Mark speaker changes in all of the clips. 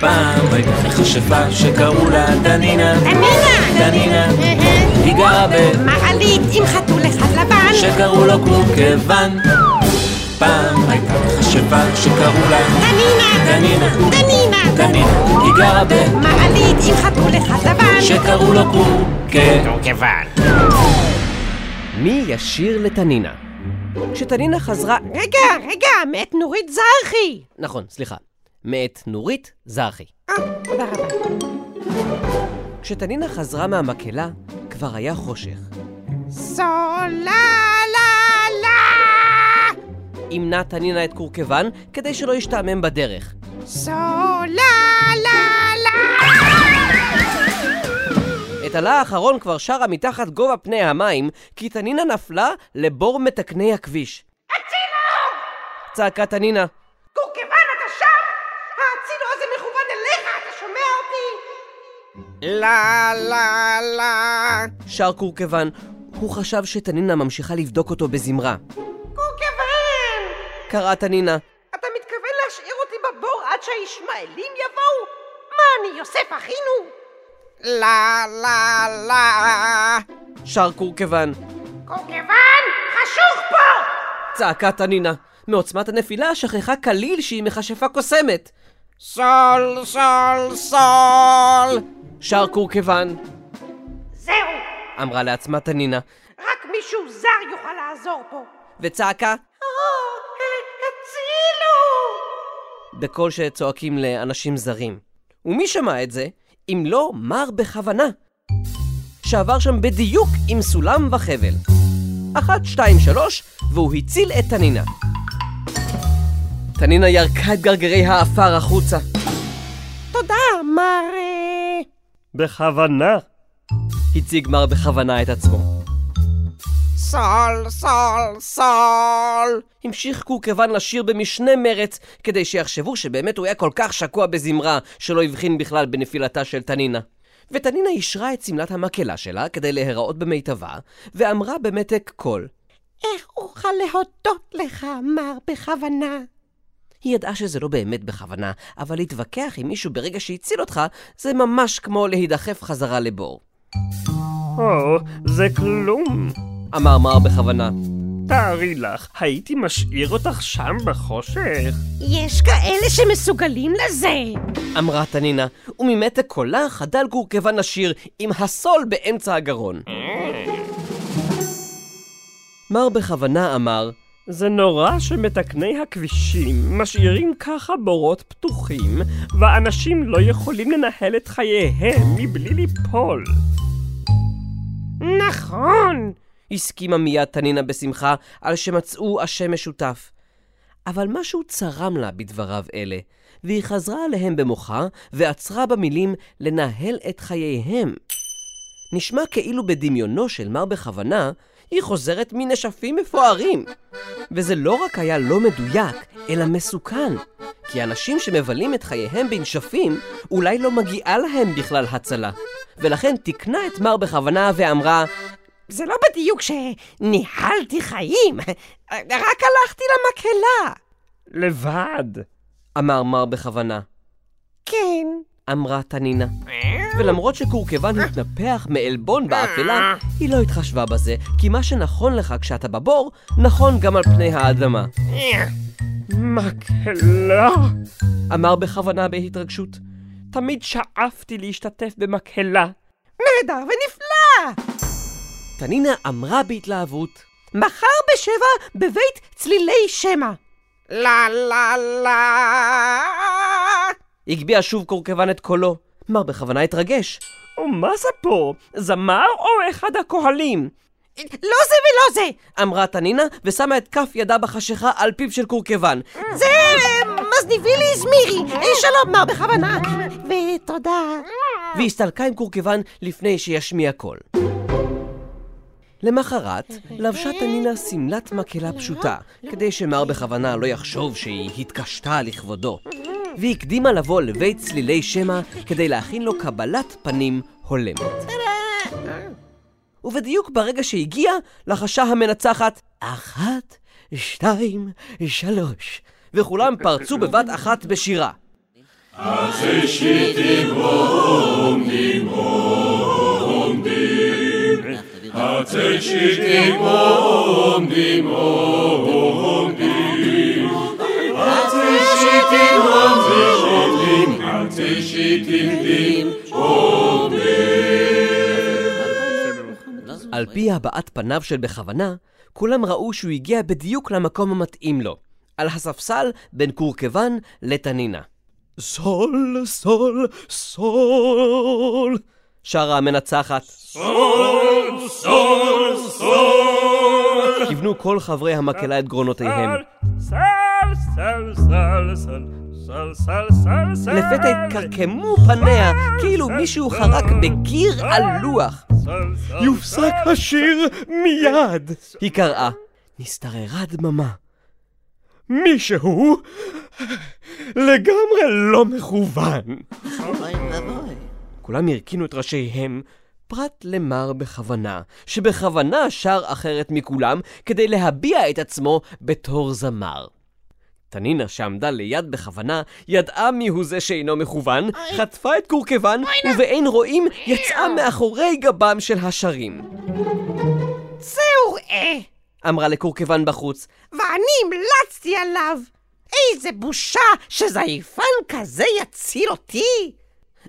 Speaker 1: פעם הייתה הכי חשבה שקראו לה דנינה.
Speaker 2: דנינה!
Speaker 1: דנינה.
Speaker 2: אהה.
Speaker 1: היא גרה ב...
Speaker 2: מעלית עם חתול אחד לבן.
Speaker 1: שקראו לו קורקוון. פעם הייתה חשבה שקראו לה
Speaker 2: דנינה!
Speaker 1: דנינה.
Speaker 2: דנינה!
Speaker 1: דנינה. היא גרה ב...
Speaker 2: מעלית עם חתול אחד לבן.
Speaker 1: שקראו לו קורקוון.
Speaker 3: כיוון.
Speaker 4: מי ישיר לתנינה? כשתנינה חזרה...
Speaker 2: רגע, רגע, מאת נורית זרחי.
Speaker 4: נכון, סליחה. מאת נורית זרחי.
Speaker 2: אה, תודה רבה.
Speaker 4: כשתנינה חזרה מהמקהלה, כבר היה חושך.
Speaker 2: סולה לה לה!
Speaker 4: ימנע תנינה את קורקוון כדי שלא ישתעמם בדרך.
Speaker 2: סולה לה לה!
Speaker 4: את הלה האחרון כבר שרה מתחת גובה פני המים, כי תנינה נפלה לבור מתקני הכביש. הצילו! צעקה תנינה.
Speaker 2: קורקוון, אתה שם? הצינור הזה מכוון אליך, אתה שומע אותי?
Speaker 3: לה לה לה.
Speaker 4: שר קורקוון, הוא חשב שתנינה ממשיכה לבדוק אותו בזמרה.
Speaker 2: קורקוון!
Speaker 4: קראה תנינה,
Speaker 2: אתה מתכוון להשאיר אותי בבור עד שהישמעאלים יבואו? מה אני, יוסף אחינו?
Speaker 3: לה לה לה.
Speaker 4: שר קורקוון,
Speaker 2: קורקוון, חשוך פה!
Speaker 4: צעקה תנינה. מעוצמת הנפילה שכחה כליל שהיא מכשפה קוסמת.
Speaker 3: סול סול סול.
Speaker 4: שר קורקוון,
Speaker 2: זהו,
Speaker 4: אמרה לעצמה תנינה,
Speaker 2: רק מישהו זר יוכל לעזור פה.
Speaker 4: וצעקה
Speaker 2: או, אה, הצילו!
Speaker 4: בקול שצועקים לאנשים זרים. ומי שמע את זה, אם לא מר בכוונה, שעבר שם בדיוק עם סולם וחבל. אחת, שתיים, שלוש, והוא הציל את תנינה. תנינה ירקה את גרגרי האפר החוצה.
Speaker 2: תודה, מר... אה,
Speaker 4: בכוונה. הציג מר בכוונה את עצמו.
Speaker 3: סול סול סול.
Speaker 4: המשיך קורקוון לשיר במשנה מרץ, כדי שיחשבו שבאמת הוא היה כל כך שקוע בזמרה, שלא הבחין בכלל בנפילתה של תנינה. ותנינה אישרה את שמלת המקהלה שלה כדי להיראות במיטבה, ואמרה במתק קול.
Speaker 2: איך אוכל להודות לך, מר, בכוונה?
Speaker 4: היא ידעה שזה לא באמת בכוונה, אבל להתווכח עם מישהו ברגע שהציל אותך, זה ממש כמו להידחף חזרה לבור.
Speaker 5: או, זה כלום.
Speaker 4: אמר מר בכוונה.
Speaker 5: תארי לך, הייתי משאיר אותך שם בחושך.
Speaker 2: יש כאלה שמסוגלים לזה.
Speaker 4: אמרה תנינה, וממתק קולה חדל גורכבן השיר עם הסול באמצע הגרון. מר בכוונה אמר,
Speaker 5: זה נורא שמתקני הכבישים משאירים ככה בורות פתוחים, ואנשים לא יכולים לנהל את חייהם מבלי ליפול.
Speaker 2: נכון.
Speaker 4: הסכימה מיד תנינה בשמחה על שמצאו אשם משותף. אבל משהו צרם לה בדבריו אלה, והיא חזרה עליהם במוחה ועצרה במילים לנהל את חייהם. נשמע כאילו בדמיונו של מר בכוונה, היא חוזרת מנשפים מפוארים. וזה לא רק היה לא מדויק, אלא מסוכן. כי אנשים שמבלים את חייהם בנשפים, אולי לא מגיעה להם בכלל הצלה. ולכן תיקנה את מר בכוונה ואמרה,
Speaker 2: זה לא בדיוק שניהלתי חיים, רק הלכתי למקהלה.
Speaker 5: לבד.
Speaker 4: אמר מר בכוונה.
Speaker 2: כן.
Speaker 4: אמרה תנינה. ולמרות שקורקבן התנפח מעלבון באפלה, היא לא התחשבה בזה, כי מה שנכון לך כשאתה בבור, נכון גם על פני האדמה.
Speaker 5: מקהלה.
Speaker 4: אמר בכוונה בהתרגשות.
Speaker 5: תמיד שאפתי להשתתף במקהלה.
Speaker 2: נהדר ונפלא!
Speaker 4: תנינה אמרה בהתלהבות,
Speaker 2: מחר בשבע בבית צלילי שמע.
Speaker 3: לה לה לה.
Speaker 4: הגביה שוב קורקבן את קולו. מר בכוונה התרגש.
Speaker 5: ומה זה פה? זמר או אחד הכהלים?
Speaker 2: לא זה ולא זה!
Speaker 4: אמרה תנינה, ושמה את כף ידה בחשיכה על פיו של קורקבן.
Speaker 2: זה מזניבילי זמירי! אה, שלום, מר, בכוונה. ותודה.
Speaker 4: והסתלקה עם קורקבן לפני שישמיע קול. למחרת, לבשה תנינה שמלת מקהלה פשוטה, כדי שמר בכוונה לא יחשוב שהיא התקשתה לכבודו. והקדימה לבוא לבית צלילי שמע כדי להכין לו קבלת פנים הולמת. ובדיוק ברגע שהגיע, לחשה המנצחת אחת, שתיים, שלוש, וכולם פרצו בבת אחת בשירה. על פי הבעת פניו של בכוונה, כולם ראו שהוא הגיע בדיוק למקום המתאים לו, על הספסל בין קורקוון לתנינה. סול, סול, סול, שרה המנצחת. סול, סול, סול. כיוונו כל חברי המקהלה את גרונותיהם.
Speaker 5: סל, סל, סל, סל, סל, סל, סל, סל.
Speaker 4: לפתע התקרקמו פניה, כאילו מישהו חרק בקיר על לוח.
Speaker 5: סל, סל,
Speaker 4: יופסק השיר מיד! היא קראה. נסתררה דממה. מישהו לגמרי לא מכוון. כולם הרכינו את ראשיהם, פרט למר בכוונה, שבכוונה שר אחרת מכולם כדי להביע את עצמו בתור זמר. תנינה שעמדה ליד בכוונה, ידעה מיהו זה שאינו מכוון, חטפה את קורקוון, ובאין רואים יצאה מאחורי גבם של השרים.
Speaker 2: זה וראה,
Speaker 4: אמרה לקורקוון בחוץ,
Speaker 2: ואני המלצתי עליו. איזה בושה שזייפן כזה יציל אותי!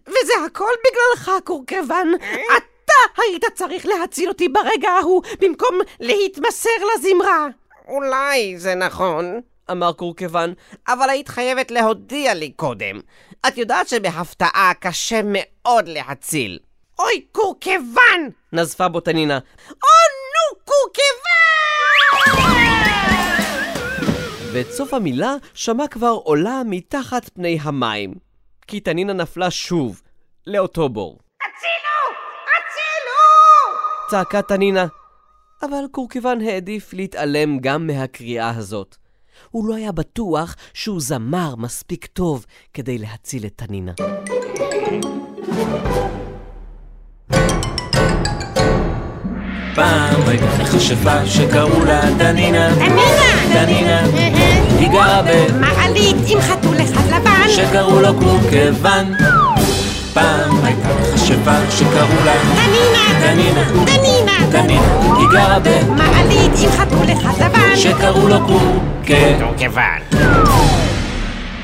Speaker 2: וזה הכל בגללך, קורקבן.
Speaker 4: אה?
Speaker 2: אתה היית צריך להציל אותי ברגע ההוא, במקום להתמסר לזמרה.
Speaker 3: אולי זה נכון,
Speaker 4: אמר קורקוון,
Speaker 3: אבל היית חייבת להודיע לי קודם. את יודעת שבהפתעה קשה מאוד להציל.
Speaker 2: אוי, קורקבן!
Speaker 4: נזפה בו תנינה,
Speaker 2: או נו, קורקבן!
Speaker 4: ואת סוף המילה שמע כבר עולה מתחת פני המים. כי תנינה נפלה שוב, לאותו בור.
Speaker 2: הצילו! הצילו!
Speaker 4: צעקה תנינה. אבל קורקוון העדיף להתעלם גם מהקריאה הזאת. הוא לא היה בטוח שהוא זמר מספיק טוב כדי להציל את תנינה.
Speaker 1: פעם הייתה חשבה שקראו לה דנינה. דנינה! היא גרה ב...
Speaker 2: מעלית עם חתול אחד לבן!
Speaker 1: שקראו לו קורקוון. פעם הייתה חשבה שקראו לה
Speaker 2: דנינה!
Speaker 1: דנינה.
Speaker 2: דנינה!
Speaker 1: דנינה. היא גרה ב...
Speaker 2: מעלית עם חתול אחד לבן!
Speaker 1: שקראו לו קורקוון.
Speaker 3: כיוון.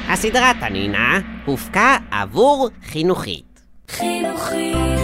Speaker 3: הסדרה תנינה הופקה אה? עבור חינוכית.
Speaker 6: חינוכית